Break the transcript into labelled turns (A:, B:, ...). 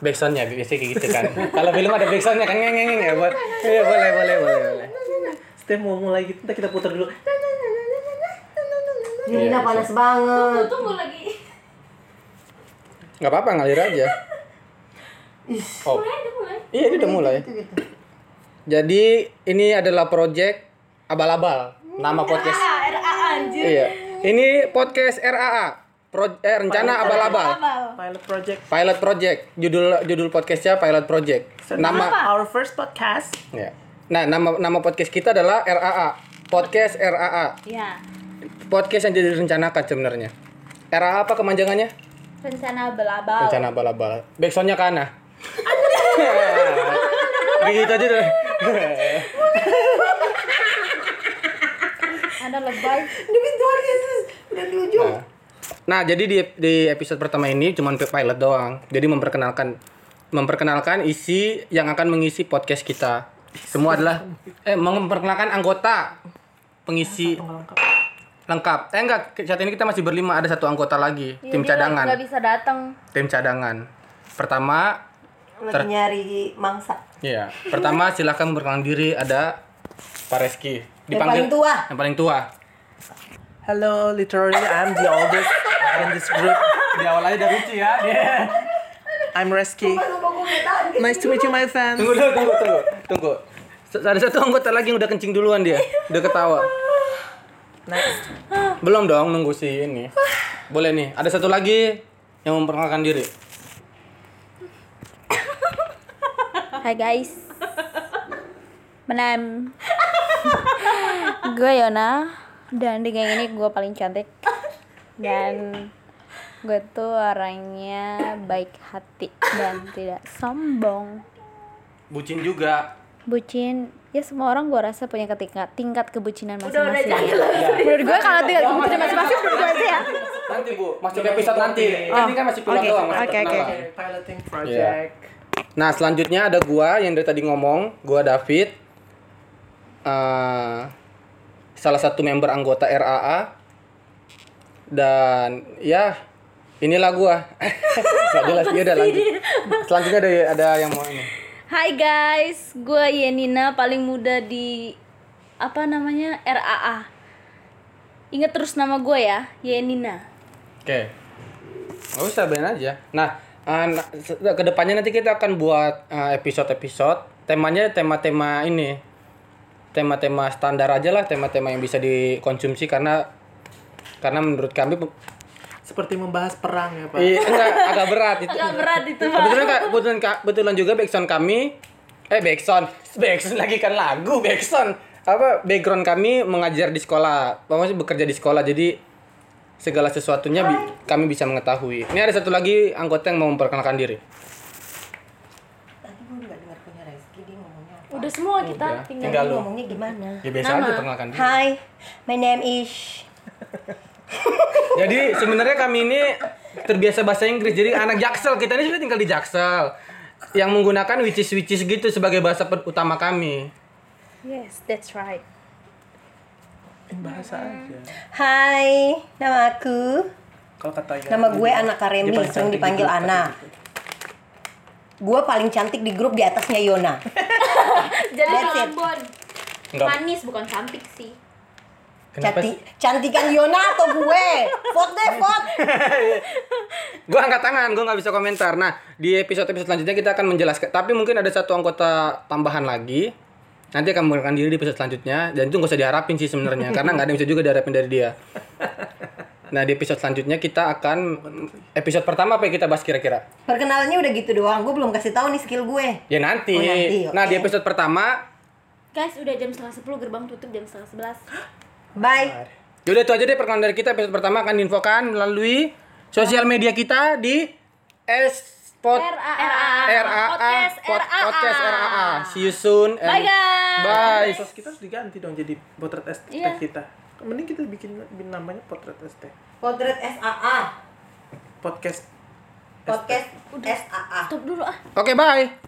A: back soundnya biasanya kayak gitu kan kalau film ada back soundnya kan ngeng ngeng ngeng ya buat iya boleh boleh boleh boleh
B: Step mau mulai gitu, ntar kita putar dulu.
A: Iya,
C: Yunda
A: bisa.
C: panas banget.
D: Tunggu, tunggu lagi.
A: nggak apa apa ngalir aja
C: Ih.
A: oh
D: Mulai aja, mulai.
A: iya ini udah mulai
C: Gitu-gitu.
A: jadi ini adalah project abal-abal nama podcast
D: Ah, RA anjir.
A: Iya. Ini podcast RAA, Pro- eh, rencana abal-abal.
D: Abal.
B: Pilot project.
A: Pilot project. Judul judul podcastnya pilot project.
B: So,
A: Nama
B: Our first podcast.
A: ya. Nah, nama nama podcast kita adalah RAA. Podcast RAA.
D: Iya.
A: Podcast yang jadi rencanakan sebenarnya. RAA apa kemanjangannya?
D: Rencana abal-abal.
A: Rencana abal-abal. Backsoundnya ke Ana. Begitu aja deh.
D: Ada lebay.
C: Demi Tuhan Yesus, udah di ujung.
A: Nah. Nah, jadi di di episode pertama ini cuman pilot doang. Jadi memperkenalkan memperkenalkan isi yang akan mengisi podcast kita. Semua adalah eh memperkenalkan anggota pengisi lengkap. Eh enggak, saat ini kita masih berlima, ada satu anggota lagi, tim
D: Iya, dia
A: cadangan.
D: Nggak bisa datang.
A: Tim cadangan. Pertama,
C: Lagi nyari mangsa.
A: iya, pertama silahkan memperkenalkan diri ada Pak Reski.
C: paling tua.
A: Yang paling tua.
B: Hello, literally I'm the oldest in this group.
A: Di awalnya udah lucu ya.
B: I'm Reski. Nice to meet you, my friends.
A: Tunggu dulu, tunggu, tunggu, tunggu. Se- Ada satu anggota lagi yang udah kencing duluan dia, udah ketawa.
B: Next.
A: Belum dong, nunggu si ini. Boleh nih, ada satu lagi yang memperkenalkan diri.
D: Hai guys. Menem. gue Yona dan di geng ini gue paling cantik dan gue tuh orangnya baik hati dan tidak sombong.
A: Bucin juga.
D: Bucin, ya semua orang gue rasa punya ketika tingkat kebucinan
C: Udah udah
D: masing-masing.
C: jangan lah.
D: Menurut gue kalau tingkat kebucinan masing-masing menurut gue aja ya.
A: Nanti bu, masuk ke episode nanti. ini kan masih pulang
D: oke,
A: doang, masih
D: oke, oke,
A: perkenalan.
B: Okay, piloting project.
A: Nah selanjutnya ada gua yang dari tadi ngomong, gua David. Eh, salah satu member anggota RAA dan ya inilah gua. Gak jelas, ya udah lanjut. Selanjutnya ada ada yang mau ini.
D: Hai guys, gue Yenina paling muda di apa namanya RAA. Ingat terus nama gue ya, Yenina.
A: Oke. Gak usah bener aja. Nah, eh, na- se- kedepannya nanti kita akan buat eh, episode-episode. Temanya tema-tema ini. Tema-tema standar aja lah, tema-tema yang bisa dikonsumsi karena karena menurut kami pe-
B: Seperti membahas perang ya, Pak.
A: iya, enggak, agak berat itu.
D: Agak berat itu pak.
A: Kebetulan, Kak, kebetulan, Kak, kebetulan juga backsound kami eh backsound, backsound lagi kan lagu backsound. Apa background kami mengajar di sekolah, maksudnya bekerja di sekolah. Jadi segala sesuatunya bi- kami bisa mengetahui. Ini ada satu lagi anggota yang mau memperkenalkan diri.
C: Tadi gue nggak dengar punya Reski dia ngomongnya apa.
D: Udah semua kita
A: Udah.
D: tinggal.
A: Tinggal
C: Dia
A: lu.
C: ngomongnya gimana?
A: Ya biasa aja perkenalkan diri.
C: Hi, my name is
A: Jadi sebenarnya kami ini terbiasa bahasa Inggris. Jadi anak Jaksel kita ini sudah tinggal di Jaksel yang menggunakan which is which is gitu sebagai bahasa per- utama kami.
D: Yes, that's right.
B: Bahasa aja.
C: Hai, nama aku.
B: Kalau kata Yana,
C: Nama gue Anak Karemi,
B: Dia paling
C: sering
B: cantik
C: dipanggil
B: di grup, gitu.
C: Ana. Gue paling cantik di grup di atasnya Yona.
D: Jadi
C: That's
D: kalau
C: it.
D: Bon
A: Enggak.
D: manis bukan cantik sih.
A: Kenapa
C: Cantik,
A: sih?
C: cantikan Yona atau gue? Vote deh, vote.
A: Gua angkat tangan, gua nggak bisa komentar. Nah, di episode-episode selanjutnya kita akan menjelaskan. Tapi mungkin ada satu anggota tambahan lagi. Nanti akan menggunakan diri di episode selanjutnya. Dan itu nggak usah diharapin sih sebenarnya, karena nggak ada yang bisa juga diharapin dari dia. Nah, di episode selanjutnya kita akan episode pertama apa yang kita bahas kira-kira?
C: Perkenalannya udah gitu doang. Gue belum kasih tahu nih skill gue.
A: Ya nanti.
C: Oh, nanti,
A: Nah, di
C: oke.
A: episode pertama
D: Guys, udah jam setengah sepuluh gerbang tutup jam setengah sebelas.
C: Bye.
A: Yaudah Ya itu aja deh perkenalan dari kita episode pertama akan diinfokan melalui sosial media kita di S Pod
D: RAA.
A: RAA
D: Podcast
A: Pod-
D: RAA.
A: Podcast RAA. See you soon. and
D: Bye guys.
A: Bye.
B: Sos kita harus diganti dong jadi potret ST
D: Iya.
B: kita. Mending kita bikin bikin namanya potret ST.
C: Potret SAA.
B: Podcast
C: Podcast SAA.
D: Tutup dulu ah.
A: Oke, bye.